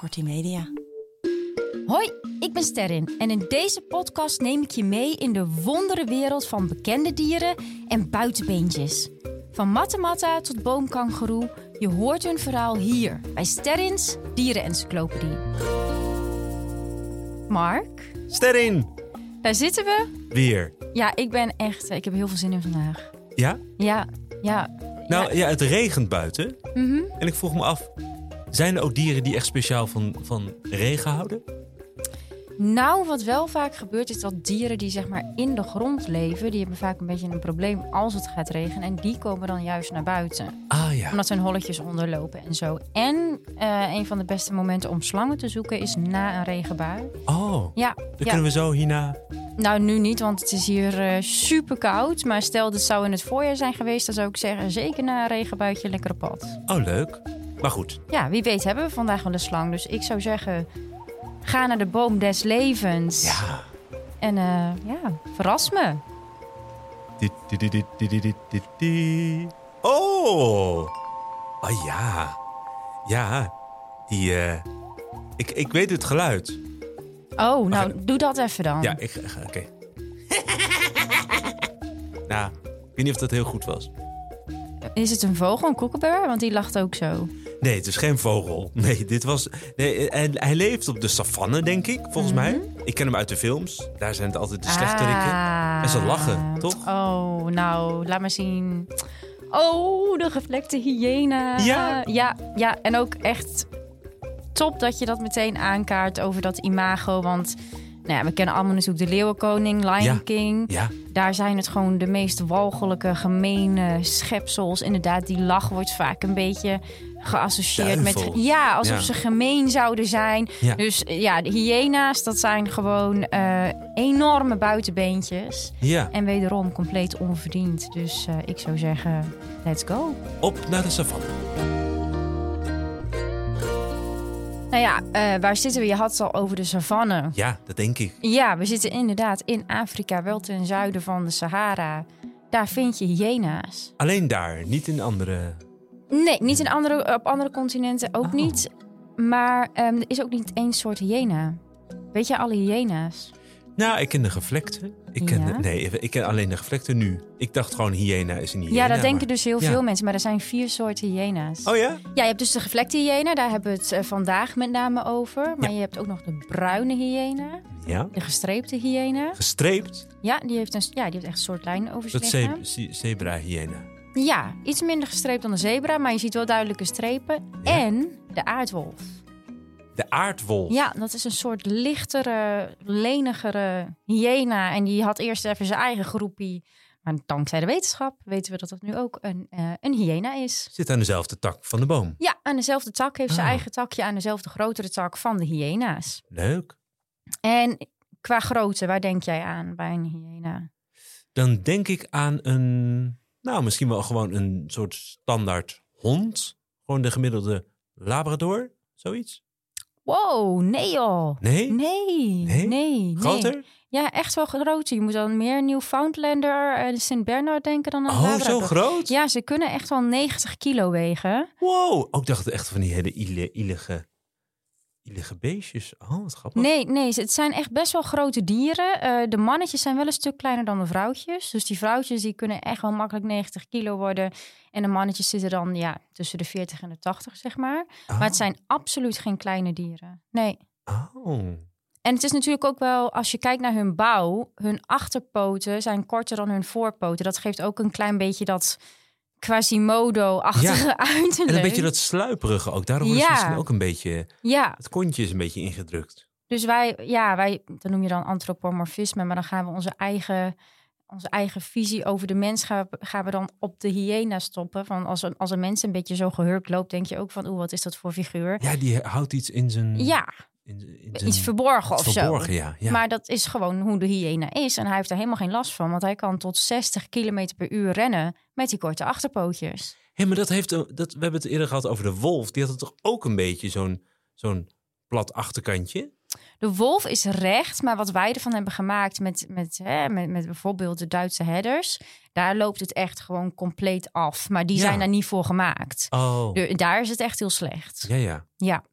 Multimedia. Hoi, ik ben Sterrin en in deze podcast neem ik je mee in de wondere wereld van bekende dieren en buitenbeentjes. Van mattematta tot boomkangeroe, je hoort hun verhaal hier bij Sterrins Dierenencyclopedie. Mark, Sterrin! daar zitten we. Weer. Ja, ik ben echt, eh, ik heb heel veel zin in vandaag. Ja? Ja, ja. Nou ja, het regent buiten. Mhm. En ik vroeg me af, zijn er ook dieren die echt speciaal van, van regen houden? Nou, wat wel vaak gebeurt is dat dieren die zeg maar in de grond leven, die hebben vaak een beetje een probleem als het gaat regenen en die komen dan juist naar buiten. Ah ja. Omdat ze hun holletjes onderlopen en zo. En eh, een van de beste momenten om slangen te zoeken is na een regenbui. Oh, Ja, dan ja. kunnen we zo hierna... nou nu niet, want het is hier eh, super koud. Maar stel dat zou in het voorjaar zijn geweest, dan zou ik zeggen zeker na een regenbuitje lekker op pad. Oh, leuk. Maar goed, Ja, wie weet hebben we vandaag wel een slang. Dus ik zou zeggen, ga naar de boom des levens. Ja. En eh, ja, verras me. Dit, dit, dit, dit, dit, dit, dit, dit, dit. Oh! Ah ja. Ja, die. eh, ik, ik weet het geluid. Oh, nou, even. doe dat even dan. Ja, ik. eh, Oké. nou, ik weet niet of dat heel goed was. Is het een vogel, een koekenbeur? Want die lacht ook zo. Nee, het is geen vogel. Nee, dit was. Nee, hij, hij leeft op de savanne, denk ik, volgens mij. Ik ken hem uit de films. Daar zijn het altijd de slechterikken. Mhm. Ah. En ze lachen, toch? Oh, nou, laat maar zien. Oh, de gevlekte hyena. Ja. Ja, ja, en ook echt top dat je dat meteen aankaart over dat imago. Want nou ja, we kennen allemaal natuurlijk de Leeuwenkoning, Lion Ja. King. Ja, Daar zijn het gewoon de meest walgelijke, gemene schepsels. Inderdaad, die lach wordt vaak een beetje geassocieerd met... Duivels. Ja, alsof Ja. ze gemeen zouden zijn. Ja. Dus eh, ja, de hyena's, dat zijn gewoon eh, enorme buitenbeentjes. ja. En wederom compleet onverdiend. Dus eh, ik zou zeggen, let's go. Op naar de savanne. Nou ja, eh, waar zitten we? Je had het al over de savanne. Ja, dat denk ik. Ja, we zitten inderdaad in Afrika, wel ten zuiden van de Sahara. Daar vind je hyena's. Alleen daar, niet in andere. Nee, niet in andere, op andere continenten ook Oh. niet. Maar ehm, er is ook niet één soort hyena. Weet je alle hyena's? Nou, ik ken de gevlekte. Ik ken Ja. de- nee, ik ken alleen de gevlekte nu. Ik dacht gewoon hyena is een hyena. ja, dat maar- denken dus heel ja. veel mensen. Maar er zijn vier soorten hyena's. Oh ja? Ja, je hebt dus de gevlekte hyena. Daar hebben we het eh, vandaag met name over. Maar Ja. je hebt ook nog de bruine hyena. Ja. De gestreepte hyena. Gestreept. Ja, die heeft, een, ja, die heeft echt een soort lijn over Dat zich ze lichaam. ze- zebra hyena. Ja, iets minder gestreept dan de zebra. Maar je ziet wel duidelijke strepen. Ja. En de aardwolf. De aardwolf. Ja, dat is een soort lichtere, lenigere hyena. En die had eerst even zijn eigen groepie. Maar dankzij de wetenschap weten we dat dat nu ook een, eh, een hyena is. Zit aan dezelfde tak van de boom. Ja, aan dezelfde tak heeft zijn Ah. eigen takje aan dezelfde grotere tak van de hyena's. Leuk. En qua grootte, waar denk jij aan bij een hyena? Dan denk ik aan een, nou misschien wel gewoon een soort standaard hond. Gewoon de gemiddelde labrador, zoiets. Wow, nee joh. Nee? Nee, nee, Nee? nee. Groter? Ja, echt wel groot. Je moet dan meer Newfoundlander en Sint Bernard denken dan aan een Oh, zo Labrador. groot? Ja, ze kunnen echt wel 90 kilo wegen. Wow. Ook dacht ik echt van die hele ile, ilige, ilige beestjes. Oh, wat grappig. Nee, nee, ze- het zijn echt best wel grote dieren. Eh, de mannetjes zijn wel een stuk kleiner dan de vrouwtjes. Dus die vrouwtjes die kunnen echt wel makkelijk 90 kilo worden. En de mannetjes zitten dan ja, tussen de 40 en de 80, zeg maar. Oh. Maar het zijn absoluut geen kleine dieren. Nee. Oh. En het is natuurlijk ook wel, als je kijkt naar hun bouw, hun achterpoten zijn korter dan hun voorpoten. Dat geeft ook een klein beetje dat Quasimodo-achtige uiterlijk. En een beetje dat sluiperige ook. Daarom is Ja. misschien ook een beetje... Ja, Het kontje is een beetje ingedrukt. Dus wij, ja, wij, dat noem je dan antropomorfisme, maar dan gaan we onze eigen, onze eigen visie over de mens gaan, we- gaan we dan op de hyena stoppen. Van als, een, als een mens een beetje zo gehurkt loopt, denk je ook van, oeh, wat is dat voor figuur? Ja, die houdt iets in zijn... Ja, in, z- in zijn- iets verborgen of verborgen, zo. ja. ja. Maar dat is gewoon hoe de hyena is. En hij heeft er helemaal geen last van, want hij kan tot 60 km per uur rennen met die korte achterpootjes. Hé, maar dat heeft, een- dat, we hebben het eerder gehad over de wolf. Die had toch ook een beetje zo'n zo'n plat achterkantje? De wolf is recht, maar wat wij ervan hebben gemaakt met, met, hè, met, met bijvoorbeeld de Duitse herders, daar loopt het echt gewoon compleet af. Maar die Ja. zijn daar niet voor gemaakt. Oh. De- daar is het echt heel slecht. Ja, ja.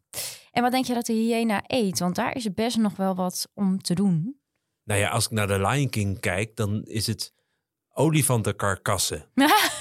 En wat denk je dat de hyena eet? Want daar is best nog wel wat om te doen. Nou ja, als ik naar de Lion King kijk, dan is het olifantenkarkassen.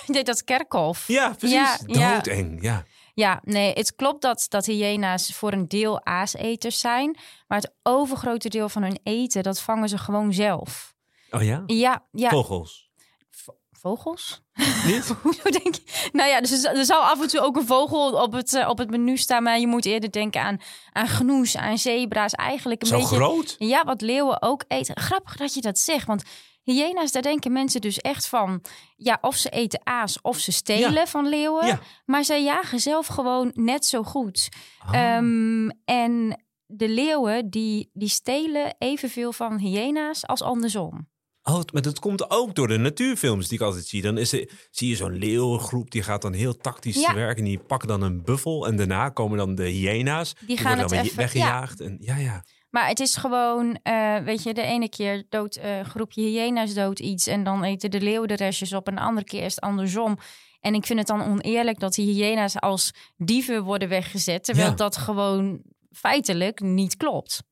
Dit, dat kerkhof. Ja, precies. Ja, ja. Doodeng, ja. Ja, nee, het klopt dat, dat hyena's voor een deel aaseters zijn. Maar het overgrote deel van hun eten, dat vangen ze gewoon zelf. Oh ja? Ja, ja. Vogels. Vo- Vogels? Niet? Hoezo denk je? Nou ja, dus er z- er zal af en toe ook een vogel op het, eh, op het menu staan. Maar je moet eerder denken aan, aan gnoes, aan zebra's. Eigenlijk een Zo beetje... groot? Ja, wat leeuwen ook eten. Grappig dat je dat zegt, want hyena's, daar denken mensen dus echt van... Ja, of ze eten aas of ze stelen van leeuwen. Ja. Maar zij jagen zelf gewoon net zo goed. Ah. Ehm, en de leeuwen, die, die stelen evenveel van hyena's als andersom. Oh, het- maar dat komt ook door de natuurfilms die ik altijd zie. Dan is er, zie je zo'n leeuwengroep, die gaat dan heel tactisch Ja. te werk. En die pakken dan een buffel. En daarna komen dan de hyena's. Die, gaan worden het dan weer even- weggejaagd. Ja. En, ja, ja. Maar het is gewoon, eh, weet je, de ene keer dood eh, een groepje hyena's dood iets en dan eten de leeuwen de restjes op en de andere keer is het andersom. En ik vind het dan oneerlijk dat die hyena's als dieven worden weggezet, terwijl Ja. dat gewoon feitelijk niet klopt.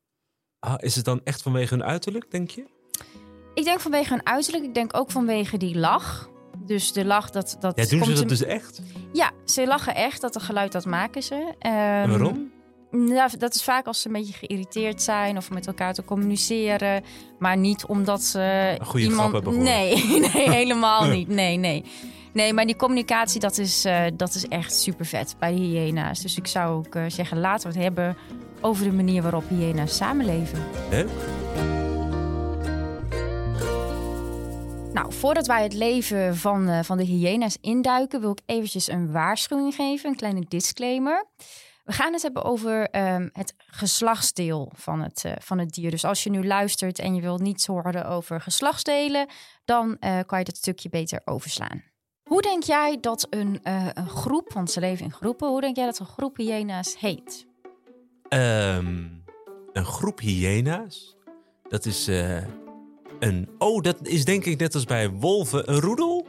Ah, is het dan echt vanwege hun uiterlijk, denk je? Ik denk vanwege hun uiterlijk, ik denk ook vanwege die lach. Dus de lach, dat, dat Ja, doen ze komt dat hem- dus echt? Ja, ze lachen echt, dat een geluid, dat maken ze. En Ehm, waarom? Nou, dat is vaak als ze een beetje geïrriteerd zijn of met elkaar te communiceren. Maar niet omdat ze Een goede iemand... grap hebben gehoord. Nee, nee, helemaal niet. Nee, nee. Nee, maar die communicatie, dat is, eh, dat is echt super vet bij de hyena's. Dus ik zou ook eh, zeggen, laten we het hebben over de manier waarop hyena's samenleven. Leuk. Nou, voordat wij het leven van, eh, van de hyena's induiken, wil ik eventjes een waarschuwing geven, een kleine disclaimer. We gaan het hebben over ehm, het geslachtsdeel van het, eh, van het dier. Dus als je nu luistert en je wilt niets horen over geslachtsdelen, dan eh, kan je dat stukje beter overslaan. Hoe denk jij dat een, eh, een groep, want ze leven in groepen, hoe denk jij dat een groep hyena's heet? Ehm, een groep hyena's. Dat is eh, een... Oh, dat is denk ik net als bij wolven een roedel.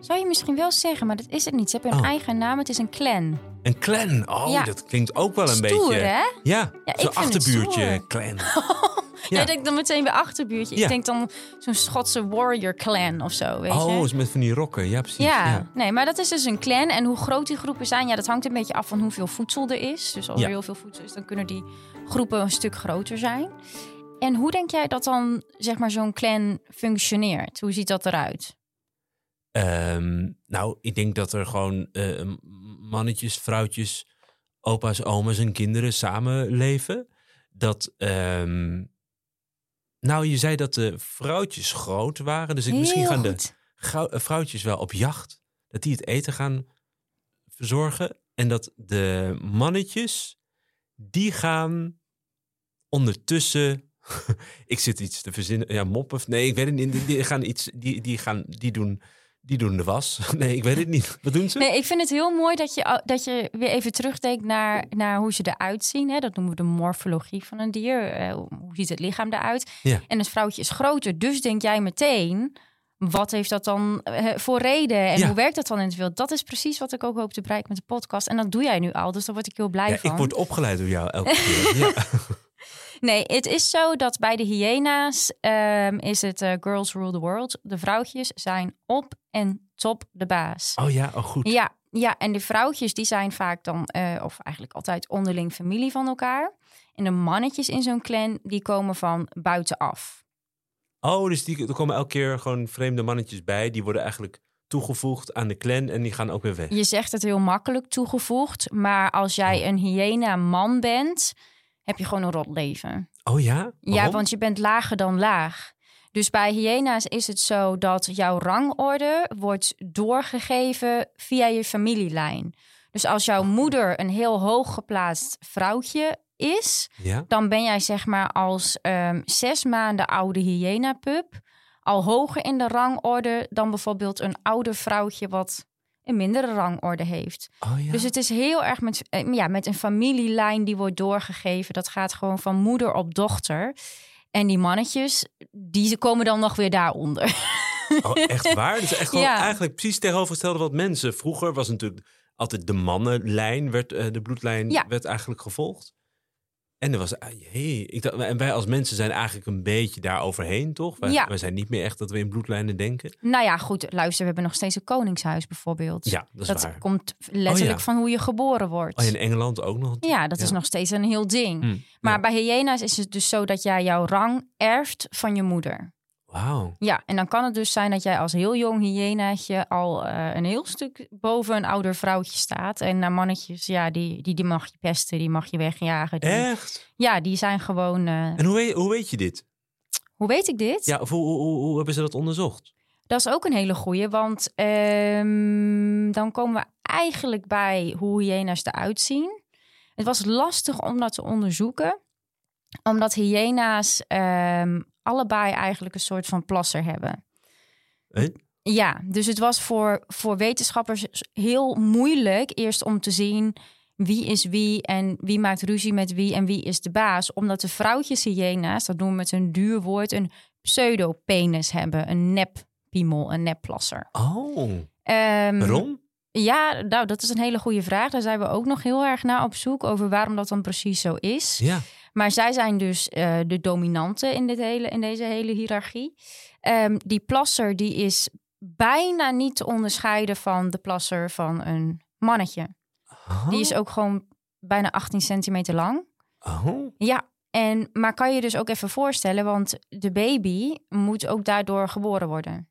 Zou je misschien wel zeggen, maar dat is het niet. Ze hebben een Oh. eigen naam, het is een clan. Een clan. Oh, Ja. dat klinkt ook wel een Stoer, beetje... hè? Ja, Ja, ik zo'n vind het achterbuurtje stoer. clan. Ja. Ja. ik denk dan meteen bij achterbuurtje. Ik Ja. denk dan zo'n Schotse warrior clan of zo, weet Oh, je. is met van die rokken. Ja, precies. Ja. Ja. nee, maar dat is dus een clan. En hoe groot die groepen zijn, ja, dat hangt een beetje af van hoeveel voedsel er is. Dus als Ja. er heel veel voedsel is, dan kunnen die groepen een stuk groter zijn. En hoe denk jij dat dan, zeg maar, zo'n clan functioneert? Hoe ziet dat eruit? Ehm, nou, ik denk dat er gewoon eh, m- mannetjes, vrouwtjes, opa's, oma's en kinderen samenleven. Dat, ehm, nou, je zei dat de vrouwtjes groot waren. Dus ik, misschien Heel gaan de goed. gauw- eh, vrouwtjes wel op jacht. Dat die het eten gaan verzorgen. En dat de mannetjes, die gaan ondertussen... ik zit iets te verzinnen. Ja, mop of nee, ik weet het niet. Die, die gaan iets, die, die, gaan, die, doen, die doen de was. nee, ik weet het niet. Wat doen ze? Nee, ik vind het heel mooi dat je, dat je weer even terugdenkt naar, naar hoe ze eruit zien. Hè? Dat noemen we de morfologie van een dier. Eh, hoe ziet het lichaam eruit? Ja. En het vrouwtje is groter, dus denk jij meteen... Wat heeft dat dan eh, voor reden en Ja. hoe werkt dat dan in het wild? Dat is precies wat ik ook hoop te bereiken met de podcast. En dat doe jij nu al, dus daar word ik heel blij Ja, van. ik word opgeleid door jou elke keer. Ja. Nee, het is zo dat bij de hyena's ehm, is het eh, girls rule the world. De vrouwtjes zijn op en top de baas. Oh ja, oh goed. Ja, ja, en de vrouwtjes die zijn vaak dan, eh, of eigenlijk altijd onderling familie van elkaar. En de mannetjes in zo'n clan, die komen van buitenaf. Oh, dus die, er komen elke keer gewoon vreemde mannetjes bij. Die worden eigenlijk toegevoegd aan de clan en die gaan ook weer weg. Je zegt het heel makkelijk toegevoegd, maar als jij een hyena man bent, heb je gewoon een rot leven. Oh ja? Ja, Waarom? want je bent lager dan laag. Dus bij hyena's is het zo dat jouw rangorde wordt doorgegeven via je familielijn. Dus als jouw moeder een heel hoog geplaatst vrouwtje is, Ja? dan ben jij zeg maar als ehm, zes maanden oude hyena-pup al hoger in de rangorde dan bijvoorbeeld een ouder vrouwtje wat een mindere rangorde heeft. Oh ja. Dus het is heel erg met, eh, ja, met een familielijn die wordt doorgegeven. Dat gaat gewoon van moeder op dochter. En die mannetjes, die komen dan nog weer daaronder. Oh, echt waar? Dus echt gewoon Ja. eigenlijk precies tegenovergestelde wat mensen. Vroeger was natuurlijk altijd de mannenlijn, werd, eh, de bloedlijn Ja. werd eigenlijk gevolgd. En er was, ah, jee, ik dacht, en wij als mensen zijn eigenlijk een beetje daar overheen, toch? Wij, Ja. wij zijn niet meer echt dat we in bloedlijnen denken. Nou ja, goed, luister, we hebben nog steeds een koningshuis bijvoorbeeld. Ja, dat is dat waar. Oh, komt letterlijk ja. van hoe je geboren wordt. Oh, in Engeland ook nog. Ja, dat is Ja. nog steeds een heel ding. Hm, Maar ja. bij hyena's is het dus zo dat jij jouw rang erft van je moeder. Wauw. Ja, en dan kan het dus zijn dat jij als heel jong hyenaatje al eh, een heel stuk boven een ouder vrouwtje staat. En naar mannetjes, ja, die, die, die mag je pesten, die mag je wegjagen. Die, Echt? Ja, die zijn gewoon... eh, En hoe weet, hoe weet je dit? hoe weet ik dit? Ja, of hoe, hoe, hoe- hoe hebben ze dat onderzocht? Dat is ook een hele goeie, want ehm, dan komen we eigenlijk bij hoe hyena's eruit zien. Het was lastig om dat te onderzoeken, omdat hyena's ehm, allebei eigenlijk een soort van plasser hebben. Hè? Ja, dus het was voor, voor wetenschappers heel moeilijk eerst om te zien wie is wie en wie maakt ruzie met wie en wie is de baas. Omdat de vrouwtjes hyena's, dat noemen we met een duur woord, een pseudo-penis hebben. Een neppiemel, een nepplasser. Oh, Ehm, waarom? Ja, nou, dat is een hele goede vraag. Daar zijn we ook nog heel erg naar op zoek over waarom dat dan precies zo is. Ja. Maar zij zijn dus eh, de dominante in, dit hele, in deze hele hiërarchie. Ehm, die plasser die is bijna niet te onderscheiden van de plasser van een mannetje. Die is ook gewoon bijna 18 centimeter lang. Oh, Ja, en, maar kan je dus ook even voorstellen, want de baby moet ook daardoor geboren worden.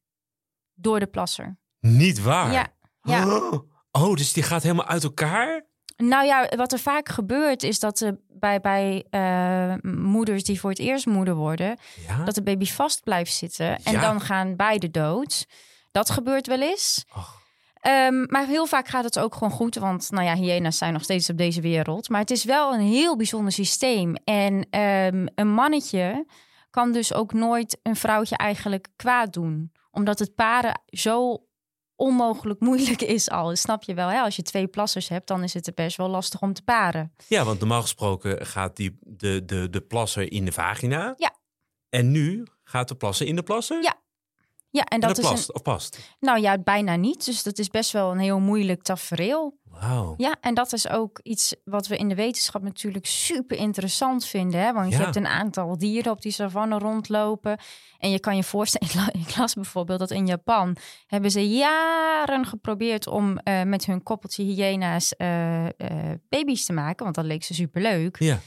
Door de plasser. niet waar. Ja, ja. Ah. Oh, dus die gaat helemaal uit elkaar? Nou ja, wat er vaak gebeurt is dat eh, bij, bij eh, moeders die voor het eerst moeder worden, Ja. dat de baby vast blijft zitten en Ja. dan gaan beide dood. Dat gebeurt wel eens. Ach. Ehm, maar heel vaak gaat het ook gewoon goed, want nou ja, hyena's zijn nog steeds op deze wereld. Maar het is wel een heel bijzonder systeem. En ehm, een mannetje kan dus ook nooit een vrouwtje eigenlijk kwaad doen. Omdat het paren zo onmogelijk moeilijk is al. Snap je wel, hè? als je twee plassers hebt, dan is het best wel lastig om te paren. Ja, want normaal gesproken gaat die, de, de, de plasser in de vagina. Ja. En nu gaat de plasser in de plasser? Ja, Ja, en En dat, is plast, of past. een, nou ja, bijna niet. Dus dat is best wel een heel moeilijk tafereel. Wauw. Ja, en dat is ook iets wat we in de wetenschap natuurlijk super interessant vinden. Hè? Want Ja. je hebt een aantal dieren op die savanne rondlopen. En je kan je voorstellen, ik la- ik las bijvoorbeeld dat in Japan hebben ze jaren geprobeerd om eh, met hun koppeltje hyena's eh, eh, baby's te maken. Want dat leek ze super leuk. Ja.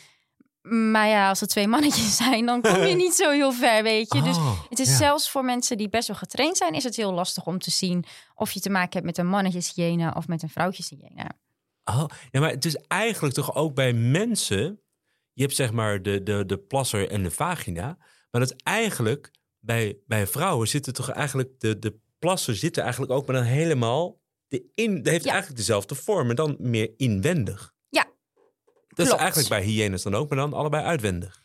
Maar ja, als er twee mannetjes zijn, dan kom je niet zo heel ver, weet je. Dus Oh, het is ja. zelfs voor mensen die best wel getraind zijn, is het heel lastig om te zien of je te maken hebt met een mannetjeshyena of met een vrouwtjeshyena. Oh, ja, maar het is eigenlijk toch ook bij mensen... Je hebt zeg maar de, de, de plasser en de vagina. Maar dat is eigenlijk... Bij, bij vrouwen zitten toch eigenlijk... De, de plasser zitten eigenlijk ook, maar dan helemaal... De in, de heeft Ja. eigenlijk dezelfde vorm, maar dan meer inwendig. Ja, Dat is klopt. eigenlijk bij hyenas dan ook, maar dan allebei uitwendig.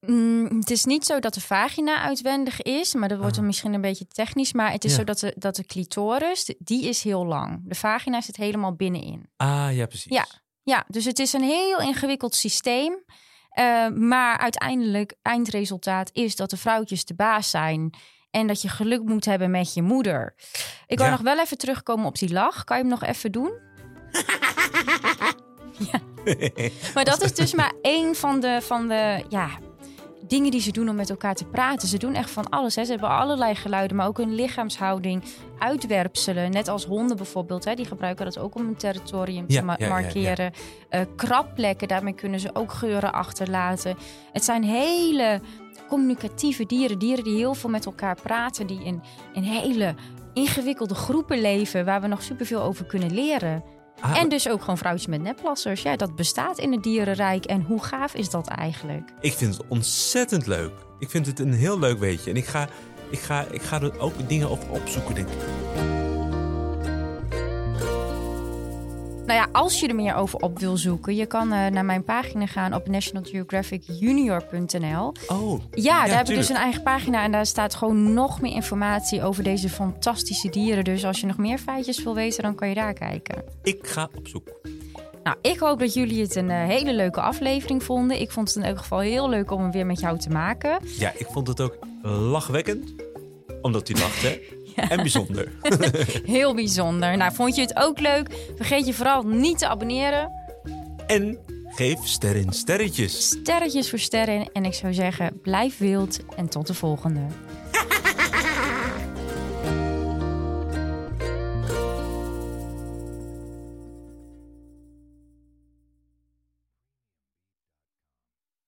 Mm, het is niet zo dat de vagina uitwendig is, maar dat wordt dan Ah. misschien een beetje technisch. Maar het is Ja. zo dat de, dat de clitoris, d- die is heel lang. De vagina zit helemaal binnenin. Ah, ja, precies. Ja. Ja, dus het is een heel ingewikkeld systeem. Eh, maar uiteindelijk, eindresultaat is dat de vrouwtjes de baas zijn. En dat je geluk moet hebben met je moeder. Ik wil Ja. nog wel even terugkomen op die lach. Kan je hem nog even doen? ja. Maar dat is dus maar één van de, van de ja, dingen die ze doen om met elkaar te praten. Ze doen echt van alles. Hè. Ze hebben allerlei geluiden, maar ook hun lichaamshouding, uitwerpselen. Net als honden bijvoorbeeld. Hè. Die gebruiken dat ook om hun territorium Ja, te ma- ja, ja, ja. markeren. Eh, krapplekken, daarmee kunnen ze ook geuren achterlaten. Het zijn hele communicatieve dieren. Dieren die heel veel met elkaar praten. Die in, in hele ingewikkelde groepen leven. Waar we nog superveel over kunnen leren. Ah, En dus ook gewoon vrouwtjes met nepplassers. Ja, dat bestaat in het dierenrijk. En hoe gaaf is dat eigenlijk? Ik vind het ontzettend leuk. Ik vind het een heel leuk weetje. En ik ga, ik ga, ik ga er ook dingen op opzoeken, denk ik. Nou ja, als je er meer over op wil zoeken, je kan eh, naar mijn pagina gaan op nationalgeographicjunior.nl. Oh, Ja, daar heb ik tuurlijk. dus een eigen pagina en daar staat gewoon nog meer informatie over deze fantastische dieren. Dus als je nog meer feitjes wil weten, dan kan je daar kijken. Ik ga op zoek. Nou, ik hoop dat jullie het een eh, hele leuke aflevering vonden. Ik vond het in elk geval heel leuk om hem weer met jou te maken. Ja, ik vond het ook lachwekkend. Omdat hij lacht, hè? En bijzonder. Heel bijzonder. Nou, vond je het ook leuk? Vergeet je vooral niet te abonneren. en Geef sterren sterretjes. Sterretjes voor sterren en ik zou zeggen, blijf wild en tot de volgende.